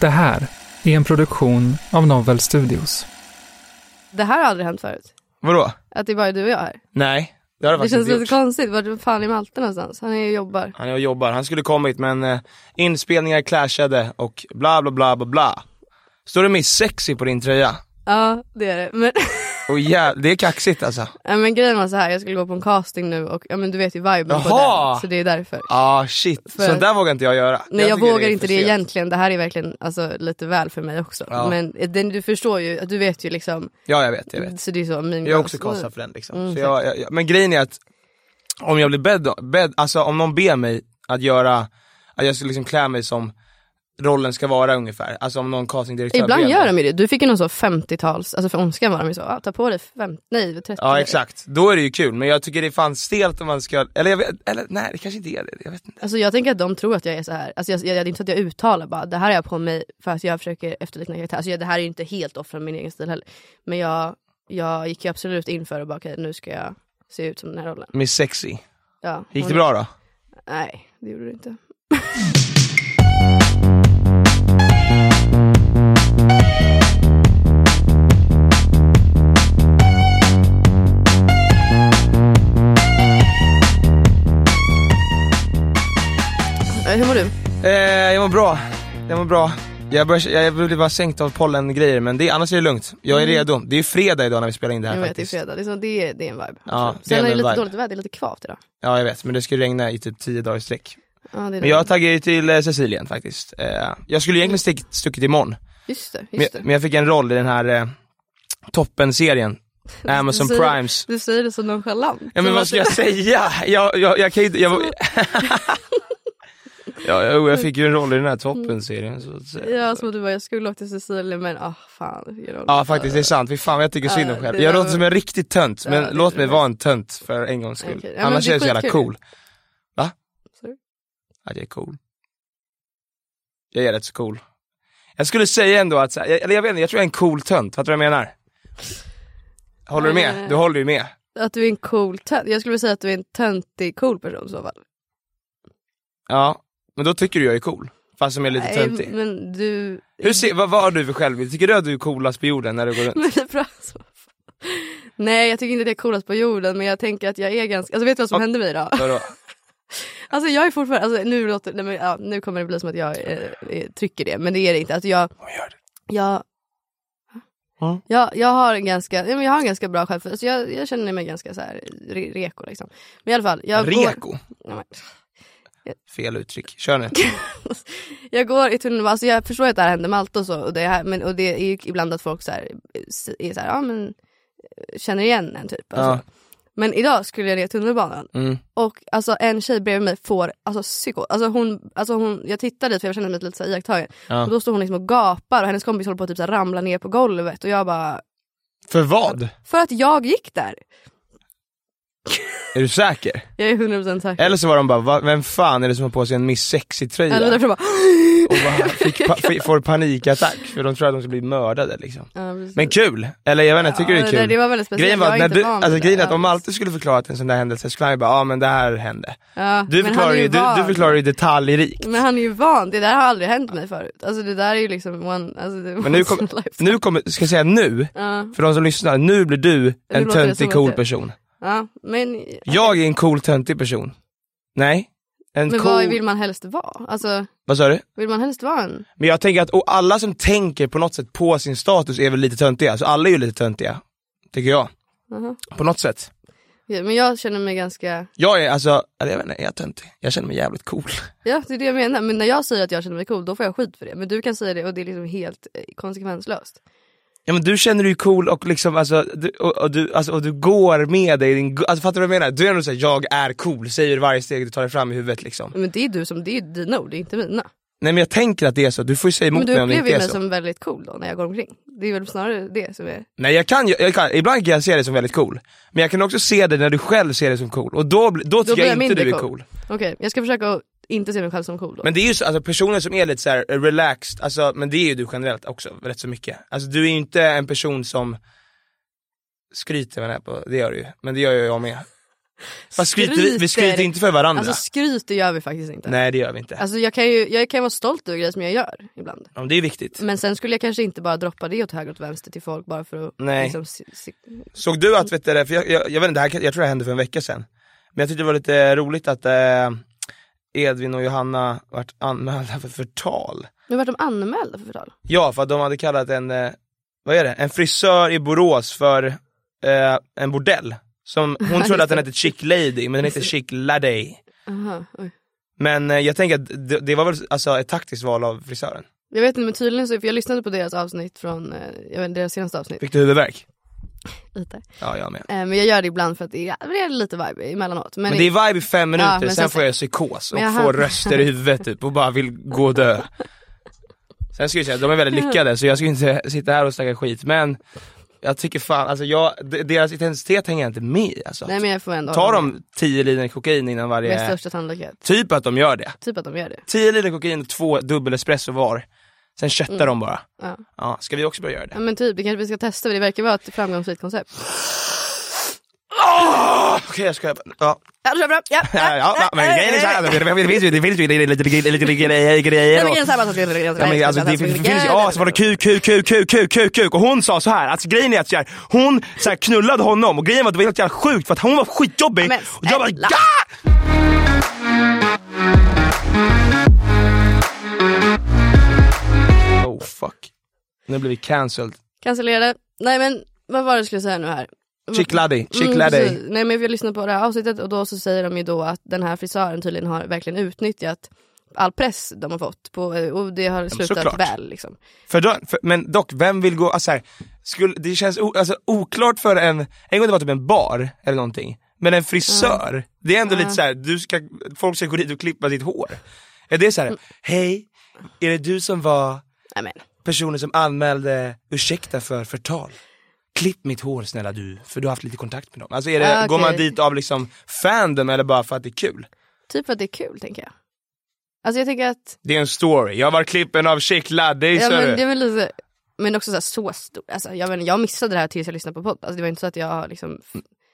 Det här är en produktion av Novel Studios. Det här har aldrig hänt förut. Vadå? Att det är bara du och jag här. Nej, det har det Det faktiskt känns inte lite gjort. konstigt. Vart fan är Malte någonstans? Han är ju jobbar. Han är och jobbar, han skulle kommit men eh, inspelningar clashade och bla bla bla bla bla. Står det Miss Sexy på din tröja? Ja, det är det. Men, Och jä- det är kaxigt alltså. ja, men grejen var så här, jag skulle gå på en casting nu och ja, men du vet ju viben på Jaha! den. Så det är därför. Ah shit, För- sånt där vågar inte jag göra. Nej jag, tycker vågar är inte för det sent. egentligen, det här är verkligen alltså, lite väl för mig också. Ja. Men den, du förstår ju, du vet ju liksom, Ja jag vet, jag vet. så det är så min Jag är också gräns. kastad för den liksom. Mm, så jag, jag, jag, men grejen är att om jag blir bedd, bedd, alltså om någon ber mig att göra, att jag ska liksom klä mig som rollen ska vara ungefär. Alltså om någon castingdirektör Ibland ber mig. gör de ju det. Du fick ju någon så 50-tals, alltså för ondskan var de ju så, ah, ta på dig 50, nej 30. Ja exakt, då är det ju kul men jag tycker det är fan stelt om man ska, eller jag vet, eller nej det kanske inte är det, jag vet inte. Alltså jag tänker att de tror att jag är så här. Alltså jag, jag, det är inte så att jag uttalar bara det här har jag på mig för att jag försöker efterlikna karaktär. Alltså jag, det här är ju inte helt off från min egen stil heller. Men jag, jag gick ju absolut in för att bara okej nu ska jag se ut som den här rollen. Miss Sexy, Ja, gick det hon- bra då? Nej, det gjorde det inte. Eh, Hur mår du? Eh, jag mår bra, jag mår bra. Jag, börjar, jag blev bara sänkt av pollengrejer men det, annars är det lugnt. Jag är redo. Det är fredag idag när vi spelar in det här Mm. Jag vet, det är faktiskt. fredag. Det är, så, det är, det är en vibe. Ja, Absolut. det Sen är är det en lite vibe. dåligt väder, det är lite kvavt idag. Ja jag vet, men det ska ju regna i typ 10 dagar i sträck. Ja, det är det. Men jag taggar ju till eh, Sicilien faktiskt. Eh, jag skulle ju egentligen stick, stuckit imorgon, Just det, men, just det. men jag fick en roll i den här eh, toppen-serien, Amazon Du säger- Primes. Du säger det så nonchalant. Ja men Som vad att ska det- jag säga? Jag, jag, jag kan ju inte- jag... Ja, jo, jag fick ju en roll i den här toppen-serien så att säga. Ja, som att du bara, jag skulle åka till Sicilien men ah fan. det gör ont. Ja faktiskt, det är sant. Fy fan vad jag tycker synd om Ja, mig själv. det Jag där låter var- som en riktig tönt, Ja, det men låt mig var- vara en tönt för en gångs skull. Okej. Ja, men Annars det är är jag så jävla skitkul. cool. Va? Sorry. Att jag är cool. Jag är rätt så cool. Jag skulle säga ändå att, så här- jag- eller jag vet inte, jag tror jag är en cool tönt. Fattar du vad jag menar? Håller du Nej. med? Du håller ju med. Att du är en cool tönt. Jag skulle vilja säga att du är en töntig cool person i så fall. Ja, men då tycker du jag är cool. Fast som jag är lite töntig. Nej, men du... Hur ser, vad, vad har du för självbild? Tycker du att du är coolast på jorden när du går runt? Men det är bra så. Nej jag tycker inte att jag är coolast på jorden men jag tänker att jag är ganska, alltså vet du vad som Ja. hände mig idag? Vadå? Alltså jag är fortfarande, alltså, nu, låter, nej, men, ja, nu kommer det bli som att jag eh, eh, trycker det men det är det inte. Alltså, jag, jag, Mm. jag, jag, har en ganska, nej, men jag har en ganska bra självförtroende, alltså, jag, jag känner mig ganska så här, re, reko liksom. Men i alla fall, jag går, Reko? Nej, men- Fel uttryck, kör nu. jag går i tunnelbanan, alltså jag förstår att det här händer med allt och så och det, här, men, och det är ju ibland att folk så här, eh, är så här, ja, men, eh, känner igen en typ. Alltså. Men idag skulle jag ner i tunnelbanan Mm. och alltså, en tjej bredvid mig får alltså, psyko. Alltså, hon, alltså, hon, jag tittade dit för jag kände mig lite så här iakttagen. Ja. Och då står hon liksom och gapar och hennes kompis håller på att typ, så här, ramla ner på golvet och jag bara, För vad? för att jag gick där. Är du säker? Jag är 100% säker. Eller så var de bara, "Va, vem fan är det som har på sig en Miss Sexy-tröja? Eller därför jag bara, Och bara fick pa- fi- får panikattack för de tror att de ska bli mördade liksom. Ja, precis. Men kul! Eller jag vet inte, jag tycker Ja, det är där- kul. det var väldigt speciellt. Grejen Jag var är att när inte du, van vid alltså det grejen är att alls. om Malte skulle förklara en sån där händelse skulle han ju bara, ja ah, men det här hände. ja. Du Men han förklarar är ju, du, du van. förklarar ju detaljrikt. Men han är ju van, det där har aldrig hänt mig förut. Alltså det där är ju liksom one, alltså, det är Men nu, once kom, in a lifetime. nu kommer, ska jag säga nu, Ja, för de som lyssnar, nu blir du låter en det som töntig att cool det- person. ja, men Jag är en cool töntig person. Nej, En Men cool... vad vill man helst vara? Alltså, Vad sa du? vill man helst vara en... Men jag tänker att och alla som tänker på något sätt på sin status är väl lite töntiga, så alla är ju lite töntiga. Tycker jag. Aha. På något sätt. Ja, Men jag känner mig ganska... Jag är alltså, eller jag vet inte, är jag töntig? Jag känner mig jävligt cool. Ja, det är det jag menar. Men när jag säger att jag känner mig cool, då får jag skit för det. Men du kan säga det och det är liksom helt eh, konsekvenslöst. Ja men du känner dig ju cool och liksom alltså, du, och, och, du, alltså, och du går med dig, i din, gu- alltså fattar du vad jag menar? Du är ändå såhär, jag är cool, säger du varje steg du tar dig fram i huvudet liksom. Men det är du som, det är dina ord, det är inte mina. Nej men jag tänker att det är så, du får ju säga emot Men du mig om det upplever inte ju är mig så. som väldigt cool då när jag går omkring. Det är väl snarare det som är... Nej jag kan, ju- jag kan, ibland kan jag se dig som väldigt cool. Men jag kan också se dig när du själv ser dig som cool, och då, bli- då Då tycker blir jag jag inte mindre du är cool. cool. Okej, jag ska försöka att inte se mig själv som cool då. Men det är ju så, alltså personer som är lite så här eh, relaxed, alltså, men det är ju du generellt också, rätt så mycket. Alltså du är ju inte en person som skryter med det här på, det gör du ju. Men det gör ju jag med. Fast skryter, vi, vi skryter inte för varandra. Alltså skryt gör vi faktiskt inte. Nej det gör vi inte. Alltså jag kan ju jag kan ju vara stolt över grejer som jag gör ibland. Ja, men det är viktigt. Men sen skulle jag kanske inte bara droppa det åt höger och åt vänster till folk bara för att Nej. liksom... Se, se... Såg du att, vet du, det, för jag, jag, jag vet inte, det här, kan- jag tror det hände för en vecka sedan. Men jag tyckte det var lite roligt att eh, Edvin och Johanna vart anmälda för förtal. Men vart de anmälda för förtal? Ja, för att de hade kallat en, eh, vad är det, en frisör i Borås för eh, en bordell. Som, hon trodde att den hette Chic Lady, men den heter Chic Lady. Aha, oj. Men eh, jag tänker att det, det var väl alltså, ett taktiskt val av frisören. Jag vet inte men tydligen så, för jag lyssnade på deras avsnitt från, eh, jag vet inte, deras senaste avsnitt. Fick du huvudvärk? Lite. Eh, Ja, jag med. men jag gör det ibland för att det är, det är lite vibe emellanåt. Men, Men det är vibe i fem minuter, Ja, men sen, sen- får jag psykos och Men jag hör- får röster i huvudet typ och bara vill gå och dö. Sen ska jag säga, de är väldigt lyckade så jag ska inte sitta här och snacka skit men jag tycker fan, alltså jag, de- deras intensitet hänger jag inte med i, alltså. nej men jag får ändå Tar hålla de 10 liter kokain innan med, med varje... största sannolikhet. Typ att de gör det. Typ att de gör det. 10 liter kokain och två dubbel espresso var. Sen köttar de bara. Ja. Ja, ska vi också börja göra det? Ja, men typ, det kanske vi ska testa för det verkar vara ett framgångsrikt koncept. Ah, Okej jag ska... Ja. Ja, det är bra. Ja, Ja, ja, men grejen är så här, det finns ju- det finns ju lite- lite- lite grejer. Ja, men grejer grejen är och- så här, man ska- Ja, men, alltså, det, det finns ju as, var det kuk, kuk, kuk, kuk, kuk, kuk, kuk. Och hon sa så här, alltså grejen är att så här, hon så här, knullade honom och grejen var att det var helt jävla sjukt för att hon var skitjobbig. Men och jag bara snälla. ja! Oh fuck. Nu blir vi cancelled. Cancellerade. Nej men vad var det jag skulle säga nu här? Chick Laddy, Chick Laddy. Mm, precis. Nej men jag lyssnade på det här avsnittet och då så säger de ju då att den här frisören tydligen har verkligen utnyttjat all press de har fått på, och det har slutat såklart. väl liksom. För då, för, men dock, vem vill gå, alltså så här, skulle, det känns o, alltså, oklart för en, en gång det var typ en bar eller någonting, men en frisör, Mm. det är ändå lite så här, du ska, folk ska gå dit och klippa ditt hår. Är det så här, Mm. hej, är det du som var Nej men personen som anmälde ursäkta för förtal? Klipp mitt hår snälla du, för du har haft lite kontakt med dem. Alltså är det, Ah, går man okej. dit av liksom fandom eller bara för att det är kul? typ för att det är kul tänker jag. Alltså jag tänker att, Det är en story, jag var klippen av Chic Laddy ja, sa men, du. det är väl lite, men också så, här, så stor, alltså, jag, men, jag missade det här tills jag lyssnade på podd. Alltså det var inte så att jag liksom,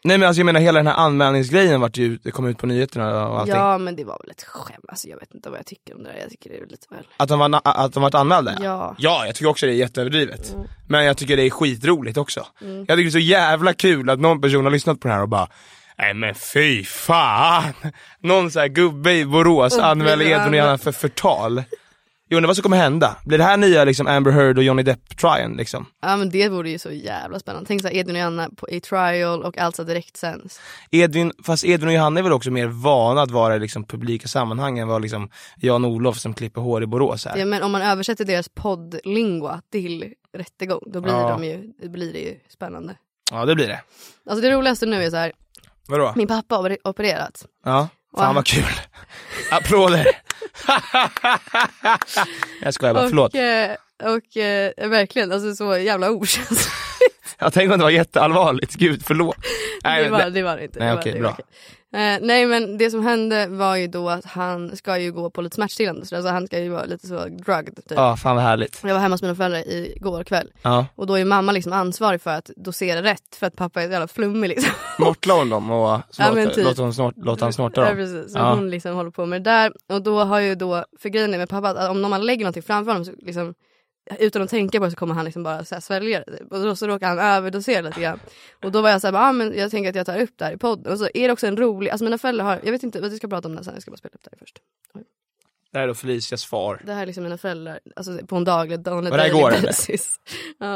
Nej men alltså jag menar hela den här anmälningsgrejen vart ju, det kom ut på nyheterna och allting. ja men det var väl ett skämt. Alltså jag vet inte vad jag tycker om det där, jag tycker det är lite väl. Att de, var, na- att de vart anmälda? Ja. Mm. ja, jag tycker också det är jätteöverdrivet. Men jag tycker det är skitroligt också. Jag tycker det är så jävla kul att någon person har lyssnat på det här och bara Nej men fy fan! Någon sån här gubbe i Borås Och anmäler blir Edvin och anmäld. Johanna för förtal. Jag undrar vad som kommer hända? Blir det här nya liksom Amber Heard och Johnny Depp-trien liksom? Ja men det vore ju så jävla spännande. Tänk så här, Edvin och Johanna på, i trial och alltså direkt sänds. Edvin, fast Edvin och Johanna är väl också mer vana att vara i liksom publika sammanhang än vad liksom Jan-Olof som klipper hår i Borås är. Ja, men om man översätter deras poddlingua till rättegång då blir, Ja. de ju, det blir det ju spännande. Ja det blir det. Alltså det roligaste nu är så här, Vadå? min pappa har oper- opererat. Ja, fan Wow. vad kul. Applåder. jag skojar bara, förlåt. Och, eh, och eh, verkligen, alltså så jävla okänsligt. Jag tänkte om det var jätteallvarligt, gud förlåt. Nej, det, men- var, det var det inte. Nej, det var, okej, det bra. var Eh, nej men det som hände var ju då att han ska ju gå på lite smärtstillande, så alltså, han ska ju vara lite så drugged. Typ. Ja, fan vad härligt. Jag var hemma hos mina föräldrar igår kväll. Ja. Och då är mamma liksom ansvarig för att dosera rätt för att pappa är så jävla flummig liksom. Mortlar hon dem och Ja, men snorta, typ. låter, hon snort, låter han snorta Ja, dem? precis. Så Ja. hon liksom håller på med det där. Och då har ju då, för grejen är med pappa att om man lägger någonting framför honom så liksom utan att tänka på det så kommer han liksom bara så här svälja det. typ. Och då så råkar han överdosera lite grann. Och då var jag så här, bara, ah, men jag tänker att jag tar upp det här i podden. Och så är det också en rolig, alltså mina föräldrar har, jag vet inte, vi ska prata om det här sen, jag ska bara spela upp det här först. Det här är då Felicias far. Det här är liksom mina föräldrar, alltså på en daglig, daglig, Var det här daily går, eller? basis. Ja.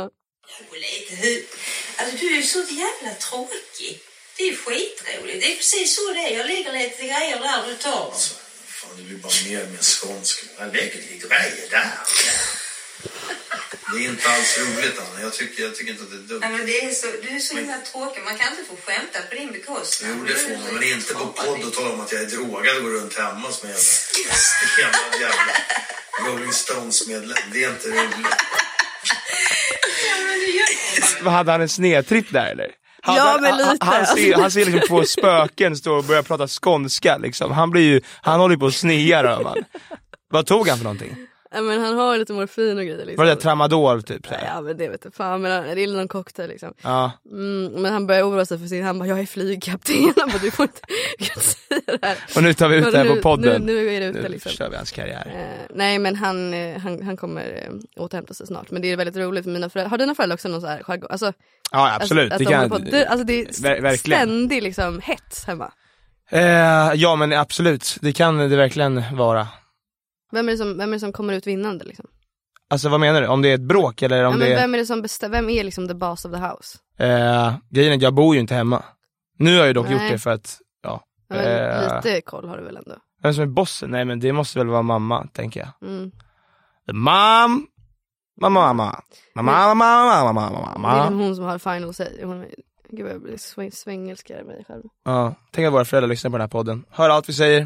roligt. Hur- Alltså, du är ju så jävla tråkig. Det är skitroligt. Det är precis så det är. Jag lägger lite grejer där du tar dem. Fan, det blir bara mer och mer skånsk. Jag lägger lite grejer där. Det är inte alls roligt, Anna. Jag tycker, jag tycker inte att det är dumt. Ja, men det är så, du är så himla tråkig. Man kan inte få skämta på din bekostnad. Jo, det får man. Men inte på podd och tala om att jag är drogad och går runt hemma som en jävla stenad jävla Rolling Stones-medlem. Det är inte roligt. Ja, men du gör Vad, Hade han en snedtripp där eller? Hade Ja, han, men han- lite. Han ser, han ser liksom två spöken stå och börja prata skånska liksom. Han blir ju, han håller ju på att snea hör man. Vad tog han för någonting? Ja, Men han har lite morfin och grejer. Liksom. Var det där tramadol typ? Så här? Ja men det vet jag fan, men han, det är någon cocktail liksom. Ja. Mm, men han börjar oroa sig för sin, han bara jag är flygkapten. Han bara du får inte, du kan inte säga det här. Och nu tar vi ut det här på podden. Nu, nu är det ute Nu liksom. förstör vi hans karriär. Eh, nej men han, eh, han, han kommer eh, återhämta sig snart. Men det är väldigt roligt för mina föräldrar. Har dina föräldrar också någon sån här jargong? Alltså, Ja, absolut. Alltså, det att de håller kan, på, det, alltså det är Ver- st- verkligen. ständig liksom hets hemma. eh, ja, men absolut. Det kan det verkligen vara. Vem är det som, vem är det som kommer ut vinnande liksom? Alltså vad menar du? Om det är ett bråk eller om ja, men det är... Vem är det som bestämmer, vem är liksom the boss of the house? Eh, grejen är att jag bor ju inte hemma. Nu har jag ju dock Nej. gjort det för att, ja. Ja, Men, Eh. Lite koll har du väl ändå? Vem som är bossen? Nej men det måste väl vara mamma, tänker jag. Mm. Mam! Mamma, mamma. Mamma, mamma, mamma, mamma, Det är liksom mamma. hon som har final say. Hon, är- gud jag blir sväng, svängelskare med mig själv. Ja, tänk att våra föräldrar lyssnar på den här podden. Hör allt vi säger.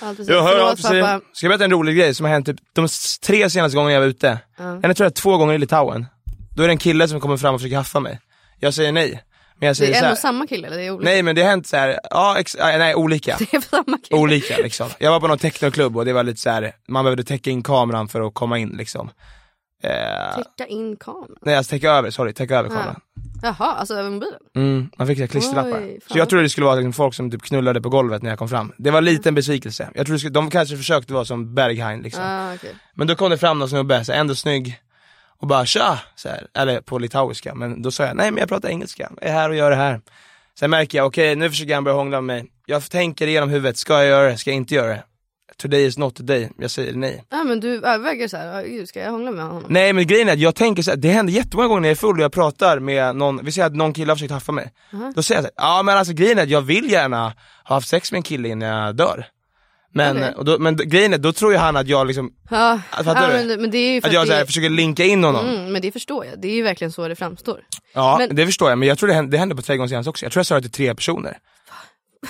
Allt precis. Jag hör Förlåt, allt vi säger. pappa. Ska jag berätta en rolig grej som har hänt typ de s- tre senaste gångerna jag var ute? Ja. Eller tror jag två gånger i Litauen. Då är det en kille som kommer fram och försöker haffa mig. Jag säger nej. Men jag säger Det så är en och här. samma kille eller det är olika? Nej men det har hänt så här. ja ex- ja, nej olika. Det är samma kille. olika liksom. Jag var på någon technoklubb och det var lite så här. man behövde täcka in kameran för att komma in liksom. Eh, Täcka in kameran. nej alltså täcka över, sorry, täcka över kameran. Jaha, alltså över mobilen? Mm, man fick så här klisterlappar. Oj, fan. så jag trodde det skulle vara liksom folk som typ knullade på golvet när jag kom fram. Det var en liten besvikelse. Jag trodde det skulle, de kanske försökte vara som Berghain liksom. Ah, okej. Men då kom det fram någon snubbe, så här, ändå snygg, och bara tja! Så här, eller på litauiska, men då sa jag nej men jag pratar engelska, jag är här och gör det här. Sen märker jag, okej nu försöker han börja hångla med mig. Jag tänker igenom huvudet, ska jag göra det, ska jag inte göra det? Today is not today, jag säger nej. Ja Ah, men du överväger så här, "Ah, gud, ska jag hångla med honom? Nej men grejen är att jag tänker så här, det händer jättemånga gånger när jag är full och jag pratar med någon, vi säger att någon kille har försökt haffa mig. Uh-huh. Då säger jag så här, ja men alltså grejen är att jag vill gärna ha haft sex med en kille innan jag dör. Men, Okej. och då, men grejen är, då tror ju han att jag liksom, Ja, Fattar ja, du? Ah. men, men det är ju för att att, jag så det här, försöker linka in honom. mm, Men det förstår jag, det är ju verkligen så det framstår. Ja, Men- det förstår jag. Men jag tror det hände, det hände på trädgårdsgräns också. Jag tror jag sa det till tre personer.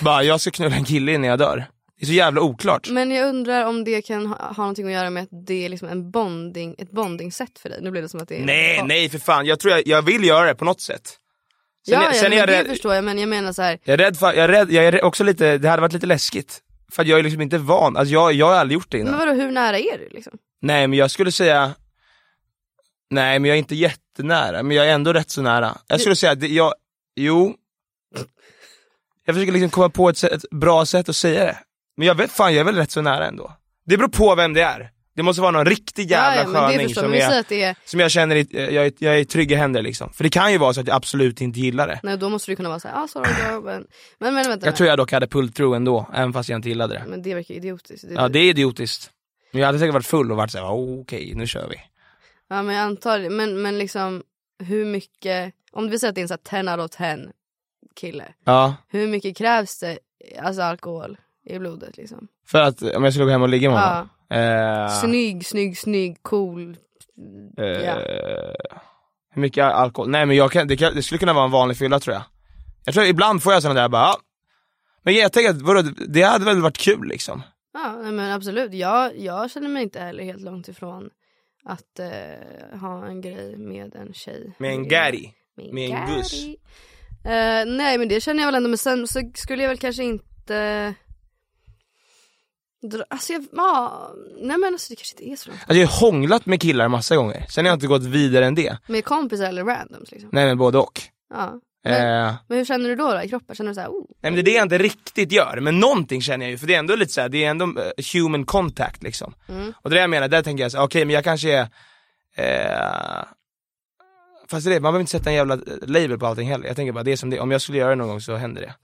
Bara, jag ska knulla en kille innan jag dör. Det är så jävla oklart. Men jag undrar om det kan ha, ha någonting att göra med att det är liksom en bonding, ett bonding-sätt för dig? Nu blir det som att det är Nej, Ja. nej för fan. Jag tror jag, jag vill göra det på något sätt. Sen, ja, jag- ja sen är men jag det rädd, förstår jag men jag menar så här, jag är rädd för, jag är, rädd, jag är rä- också lite, det hade varit lite läskigt. För att jag är liksom inte van, alltså jag, jag har aldrig gjort det innan. men vadå hur nära är du liksom? Nej men jag skulle säga, nej men jag är inte jättenära, men jag är ändå rätt så nära. Jag skulle säga, att det, jag, jo. Jag försöker liksom komma på ett, sätt, ett bra sätt att säga det. Men jag vet fan, jag är väl rätt så nära ändå. Det beror på vem det är. Det måste vara någon riktig jävla ja, ja, men det sköning förstår som, men vi säger är, att det är, som jag känner, i, eh, jag, är- jag är i trygga händer liksom. För det kan ju vara så att jag absolut inte gillar det. nej då måste du kunna vara så här, ah sorry då, men, men, men vänta, Jag tror jag dock hade pull through ändå, även fast jag inte gillade det. men det verkar idiotiskt. Mm, Det, Ja det är idiotiskt. Men jag hade säkert varit full och varit såhär, okej nu kör vi. Ja men jag antar det. Men, men liksom hur mycket, om vi säger att det är en sån här 10 out of 10 kille. Ja. Hur mycket krävs det alltså alkohol i blodet liksom? För att om jag skulle gå hem och ligga med honom? Ja. Eh, Snygg, snygg, snygg, cool. eh, ja. Hur mycket alkohol? Nej men jag kan, det, kan, det skulle kunna vara en vanlig fylla tror jag. Jag tror ibland får jag sådana där bara, ja. Men jag tänker att vadå, det hade väl varit kul liksom. Ja nej, men absolut. Jag, jag känner mig inte heller helt långt ifrån att eh, ha en grej med en tjej. Med en Ja. gäri. Med Med en Gary. guss. Eh, nej men det känner jag väl ändå men sen så skulle jag väl kanske inte dra, alltså jag, ja, nej men alltså det kanske inte är så långt. Alltså jag har hånglat med killar massa gånger, sen har jag inte gått vidare än det. Med kompisar eller randoms liksom. Nej men både och. Ja. Men, Eh, men hur känner du då, då i kroppen? Känner du såhär, oh, Nej men det är det jag inte riktigt gör, men någonting känner jag ju för det är ändå lite Mm. såhär, det är ändå eh, human contact liksom. Och det är det jag menar, där tänker jag såhär, okej men jag kanske är Eh, fast det är det, man behöver inte sätta en jävla eh, label på allting heller. Jag tänker bara, det är som det är. om jag skulle göra det någon gång så händer det.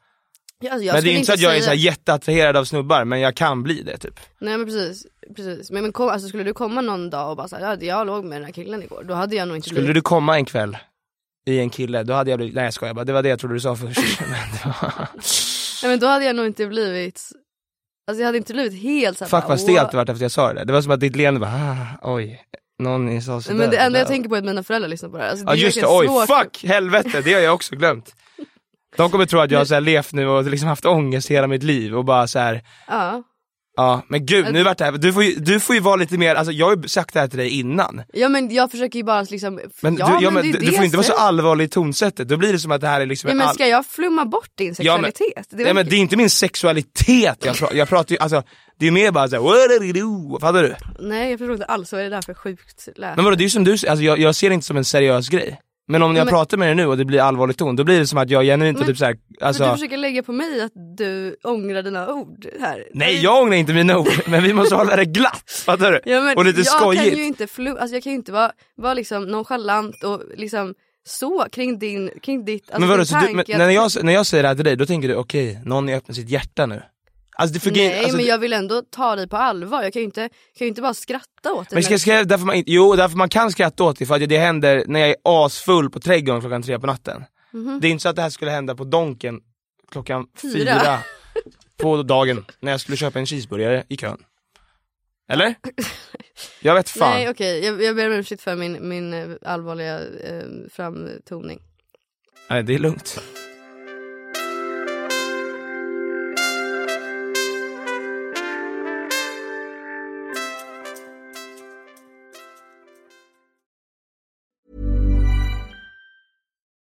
Ja, alltså, jag men det skulle är inte så att jag är så säga- här jätteattraherad av snubbar, men jag kan bli det typ. Nej men precis, precis. Men, men kom, alltså, skulle du komma någon dag och bara såhär, ja, jag låg med den här killen igår, då hade jag nog inte Skulle blivit... du komma en kväll i en kille, då hade jag blivit, nej jag skojar bara, det var det jag trodde du sa först. Men det var... Nej men då hade jag nog inte blivit, alltså jag hade inte blivit helt såhär Fuck bara, vad "Wow." stelt det vart efter jag sa det där. Det var som att ditt leende bara, ah, oj, någon sa sådär. Nej, Men det enda jag sådär. tänker på är att mina föräldrar lyssnar på det här. Alltså, Ja är just det, verkligen oj svårt. fuck, helvete, det har jag också glömt. De kommer tro att jag har så här levt nu och liksom haft ångest hela mitt liv och bara så här. Ja. ja men gud nu vart det här, du får ju, du får ju vara lite mer, alltså jag har ju sagt det här till dig innan. ja men jag försöker ju bara liksom, Men, ja, du, ja, men men det är det du, du får jag inte vara så säger. allvarlig i tonsättet, då blir det som att det här är liksom Ja, en men all- ska jag flumma bort din Ja, men- sexualitet? det, är Nej väl- men det är inte min sexualitet jag, pra- jag pratar ju, alltså det är ju mer bara såhär, what are you do? Fattar du? Nej jag förstår inte alls, vad är det där för sjukt läst? Men vadå, det är ju som du säger, alltså jag, jag ser det inte som en seriös grej. Men om jag men- pratar med dig nu och det blir allvarlig ton, då blir det som att jag genuint Men- typ såhär, alltså Du försöker lägga på mig att du ångrar dina ord här. Nej jag ångrar inte mina ord, men vi måste hålla det glatt, fattar du? Ja, men och lite jag skojigt. Kan ju inte flu- alltså, jag kan ju inte vara, vara liksom nonchalant och liksom så kring din, kring ditt, alltså men vadå, din så du, men, tanke att- när, jag, när jag säger det här till dig, då tänker du okej, någon öppnar sitt hjärta nu. Alltså det fungerar Nej alltså, men det- jag vill ändå ta dig på allvar, jag kan ju inte, kan ju inte bara skratta åt det. men ska, när- ska, därför man, inte- jo, därför man kan skratta åt det, för att det händer när jag är asfull på trädgården klockan tre på natten. Det är inte så att det här skulle hända på Donken klockan Mhm. Fyra. fyra, på dagen, när jag skulle köpa en cheeseburgare i kön. Eller? Jag vet fan. Nej okej, jag, jag ber om ursäkt för min, min eh, allvarliga eh, framtoning. Nej, det är lugnt.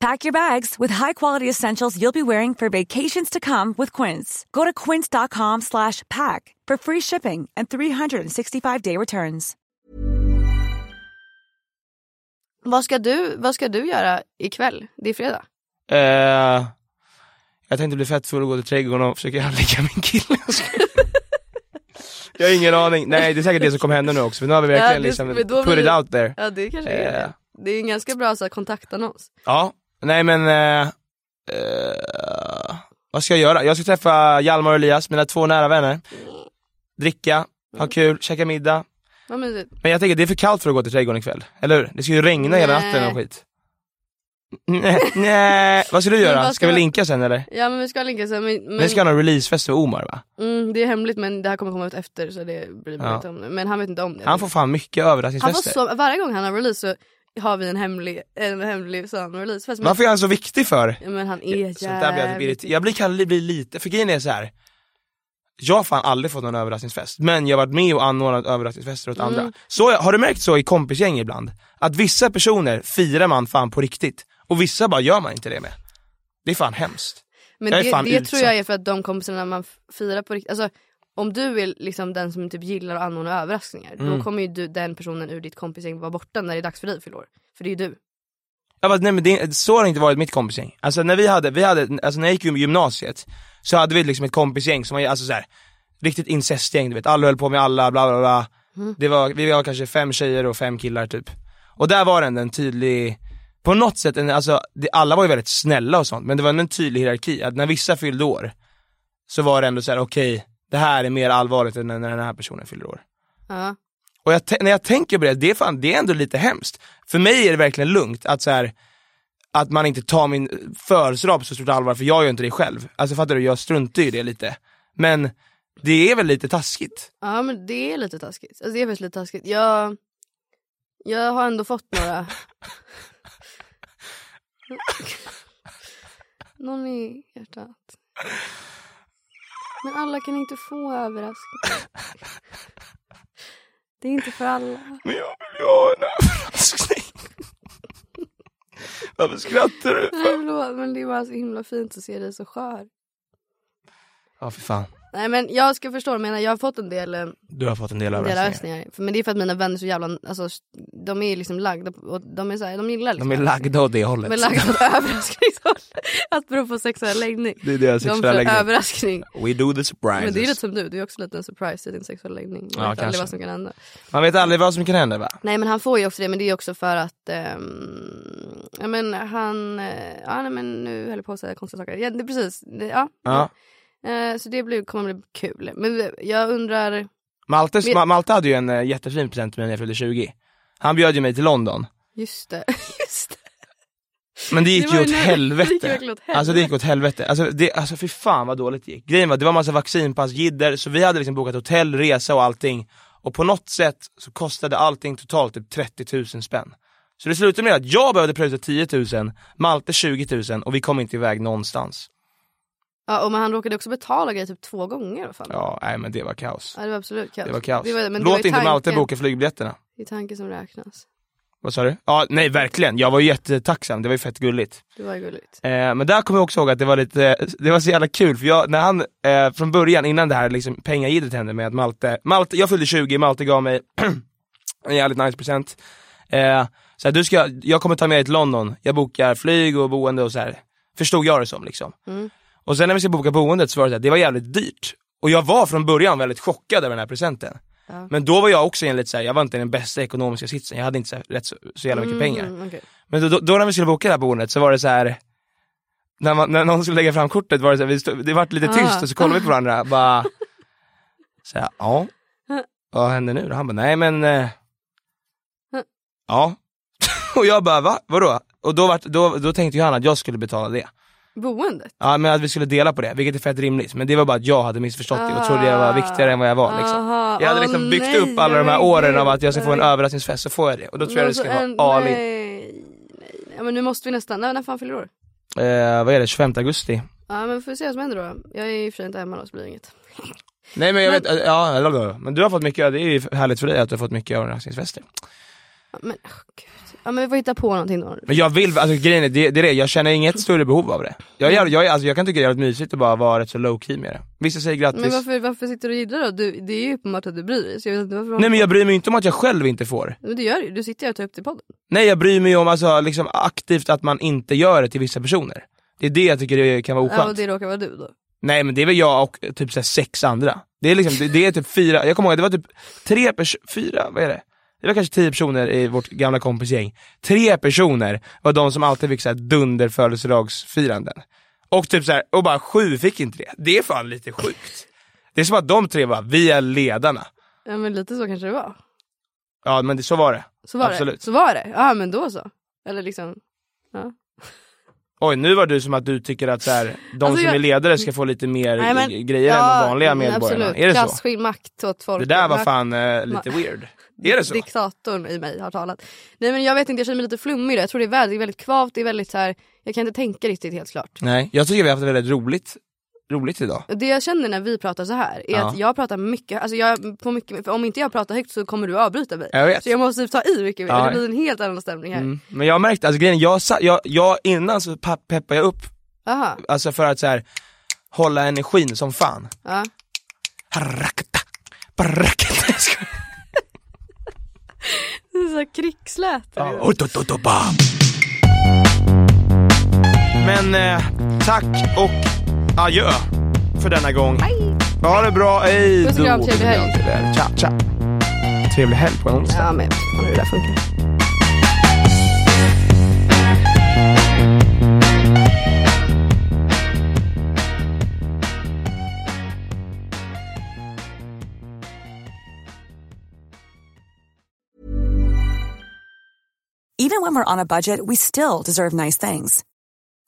Pack your bags with high-quality essentials you'll be wearing for vacations to come with Quince. Go to quince.com slash pack for free shipping and 365-day returns. Vad ska, du, vad ska du göra ikväll? Det är fredag. Eh, jag tänkte bli fett full och gå till trädgården och försöka anlägga min kille. Jag skojar. jag har ingen aning. Nej det är säkert det som kommer hända nu också för nu har vi verkligen Ja, det- liksom men då put blir- it out there. Ja det kanske är Eh. det. Det är ju en ganska bra så här, kontaktannons. Ja, nej men eh, eh, vad ska jag göra? Jag ska träffa Hjalmar och Elias, mina två nära vänner. Dricka, ha Mm. kul, käka middag. Vad mysigt. Men jag tänker det är för kallt för att gå till trädgården ikväll, eller hur? Det ska ju regna hela Nej. natten och skit. Nej, nej. vad ska du Men göra? vad Ska, ska vi jag- linka sen eller? Ja men vi ska linka sen. Men, men, Vi ska ha någon releasefest för Omar va? mm, det är hemligt men det här kommer komma ut efter så det bryr man Ja. inte om nu. Men han vet inte om det. Han får fan mycket Han får överraskningsfester. så, varje gång han har release så har vi en hemlig, en hemlig sån releasefest. Men, Varför är han så viktig för? men han är jävligt... Sånt där blir jag typ irriterad. Jag blir, kan bli lite, för grejen är så här. Jag har fan aldrig fått någon överraskningsfest, men jag har varit med och anordnat överraskningsfester åt Mm. andra. Så, har du märkt så i kompisgäng ibland? Att vissa personer firar man fan på riktigt, och vissa bara gör man inte det med. Det är fan hemskt. Men Jag är det, fan det tror jag utsatt. är för att de kompisarna man f- firar på riktigt, alltså om du är liksom den som typ gillar att anordna överraskningar Mm. då kommer ju du, den personen ur ditt kompisgäng vara borta när det är dags för dig fyller år. För det är ju du. Jag bara, nej men det, så har det inte varit mitt kompisgäng. Alltså när vi hade, vi hade, alltså när jag gick i gymnasiet, så hade vi liksom ett kompisgäng som var, alltså så här, riktigt incestgäng du vet, alla höll på med alla, bla bla bla. Det var, vi var kanske fem tjejer och fem killar typ. Och där var det ändå en tydlig, på något sätt, en, alltså det, alla var ju väldigt snälla och sånt, men det var ändå en tydlig hierarki, att när vissa fyllde år, så var det ändå så här: okej, det här är mer allvarligt än när när den här personen fyller år. Ja. Och jag, tän- när jag tänker på det, det är, fan, det är ändå lite hemskt. För mig är det verkligen lugnt att så här, att man inte tar min födelsedag på så stort allvar, för jag gör inte det själv. Alltså fattar du, jag struntar ju i det lite. Men det är väl lite taskigt? Ja men det är lite taskigt. Alltså, det är faktiskt lite taskigt. Jag, jag har ändå fått några... Någon i hjärtat. Men alla kan inte få överraskningar. Det är inte för alla. Men jag vill ju ha en överraskning. Varför skrattar du? Nej förlåt men det är bara så himla fint att se dig så skör. Ja, för fan. Nej men jag ska förstå, jag menar jag har fått en del eh, Du har fått en del en del överraskningar. överraskningar. För- Men det är för att mina vänner är så jävla, alltså, de är liksom lagda på- och de är så här, de gillar liksom De är lagda åt det hållet. De är lagda åt överraskningshållet. Apropå sexuell läggning. Det är deras de sexuella får läggning. överraskning. We do the surprises. Men det är lite som du, du är också lite en surprise i din sexuella läggning. Man vet Ja, aldrig kanske. vad som kan hända. Man vet aldrig vad som kan hända va? Nej men han får ju också det, men det är också för att ehm, ja, men han, eh, ja nej, men nu höll jag på att säga konstiga saker. Ja, det, precis, det, ja. Ja. Eh, så det blir, kommer bli kul. Men jag undrar, Maltes, Men- Ma- Malte hade ju en eh, jättefin present till mig när jag fyllde 20. Han bjöd ju mig till London. just det, just det. Men det gick Det var ju ju åt när- helvete. det gick verkligen åt helvete. Alltså det gick åt helvete. Alltså, det, alltså fy fan vad dåligt det gick. Grejen var, det var massa vaccinpass, jidder, så vi hade liksom bokat hotell, resa och allting. Och på något sätt så kostade allting totalt typ 30 000 spänn. Så det slutade med att jag behövde pröjsa 10 000, Malte 20 000 och vi kom inte iväg någonstans. Ja, och men han råkade också betala grejer typ två gånger. Vad fan. Ja, nej men det var kaos. Ja, det var absolut kaos. Det var kaos. men det var Låt ju inte Malte tanken- boka flygbiljetterna. Det är tanken som räknas. Vad sa du? Ja, nej verkligen. Jag var ju jättetacksam, det var ju fett gulligt. Det var ju gulligt. Eh, men där kommer jag också ihåg att det var lite, det var så jävla kul för jag, när han, eh, från början innan det här liksom pengagidret hände med att Malte, Malte, jag fyllde 20, Malte gav mig en jävligt nice present. Eh, så här, du ska, jag kommer ta med dig till London, jag bokar flyg och boende och så här. Förstod jag det som liksom. Mm. Och sen när vi ska boka boendet så var det så här, det var jävligt dyrt. Och jag var från början väldigt chockad över den här presenten. Ja. Men då var jag också i en lite så här, jag var inte i den bästa ekonomiska sitsen, jag hade inte så, här, rätt så, så jävla mycket pengar. Mm, okej. Men då, då, då när vi skulle boka det här boendet så var det så här. När, man, när någon skulle lägga fram kortet var det så här, vi stod, det vart lite Ah. tyst och så kollade vi på varandra bara. Så här, ja. Vad händer nu då? Han bara, nej men. Eh, ja. Och jag bara, va? Vadå? Och då, vart, då, då tänkte ju han att jag skulle betala det. Boendet? Ja men att vi skulle dela på det, vilket är fett rimligt. Men det var bara att jag hade missförstått det och trodde jag Ah. var viktigare än vad jag var liksom. Aha, Jag hade åh, liksom byggt nej, upp alla de här men åren gud, av att jag ska få en Ah. nej. överraskningsfest så får jag det. Och då tror jag det Alltså, skulle en- vara nej, aligt. nej, nej. Ja, men nu måste vi nästan, när, när fan fyller du år? Eh, vad är det, 25 augusti? Ja men vi får se vad som händer då. Jag är i och för sig inte hemma då så blir det inget. Nej men jag vet, eh, ja, eller då. men du har fått mycket, det är ju härligt för dig att du har fått mycket överraskningsfester. Ja, men åh, gud. Ja men vi får hitta på någonting då. Men jag vill, alltså grejen är, det, det är det, jag känner inget större behov av det. Jag, jag, jag, alltså, jag kan tycka det är jävligt mysigt att bara vara rätt så low key med det. Vissa säger grattis, Men varför, varför sitter du och jiddrar då? Du, det är ju uppenbart att du bryr dig. Så jag vet inte varför nej men jag bryr mig inte om att jag själv inte får. men det gör du ju. Du sitter ju och tar upp det i podden. Nej jag bryr mig om alltså, liksom, aktivt att man inte gör det till vissa personer. Det är det jag tycker det kan vara Ja, och oskönt. det råkar vara du då. Nej men det är väl jag och typ så här, sex andra. Det är liksom, det, det är typ fyra, jag kommer ihåg det var typ tre personer, fyra, vad är det? Det var kanske tio personer i vårt gamla kompisgäng. Tre personer var de som alltid fick så här dunder födelsedagsfiranden. Och typ så här, och bara sju fick inte det. Det är fan lite sjukt. Det är som att de tre var, vi är ledarna. Ja men lite så kanske det var. Ja men det, så var det. Så var Absolut. det. Så var det. Ja men då så. Eller liksom. Oj nu var du som att du tycker att så här, de Alltså, som jag- är ledare ska få lite mer Nej, men- mm, g- grejer än de vanliga medborgarna. Absolut. Är det så? Klassskild makt åt folk. Det där var Makt- fan eh, lite Ma- weird. Är det så? Diktatorn i mig har talat. Nej men jag vet inte, jag känner mig lite flummig där. Jag tror det är väldigt, det är väldigt kvavt, det är väldigt så här. jag kan inte tänka riktigt helt klart. Nej, jag tycker vi har haft väldigt roligt, roligt idag. Det jag känner när vi pratar så här är Ja. att jag pratar mycket, alltså jag på mycket, för om inte jag pratar högt så kommer du avbryta mig. Jag vet. Så jag måste typ ta i mycket mer, Ja. det blir en helt annan stämning här. Mm. Men jag märkte, alltså grejen, jag, sa- jag, jag innan så pa- peppade jag upp, Aha. alltså för att så här, hålla energin som fan. Ja. Harakata, barakata, jag skojar. Det är så här krigsläte. Ja, otototoba. Men eh, tack och adjö för denna gång. Ha det bra, hej Puss och kram, trevlig helg. Tja, tja. Trevlig helg på en onsdag. Ja men jag vet inte hur det där funkar. Even when we're on a budget, we still deserve nice things.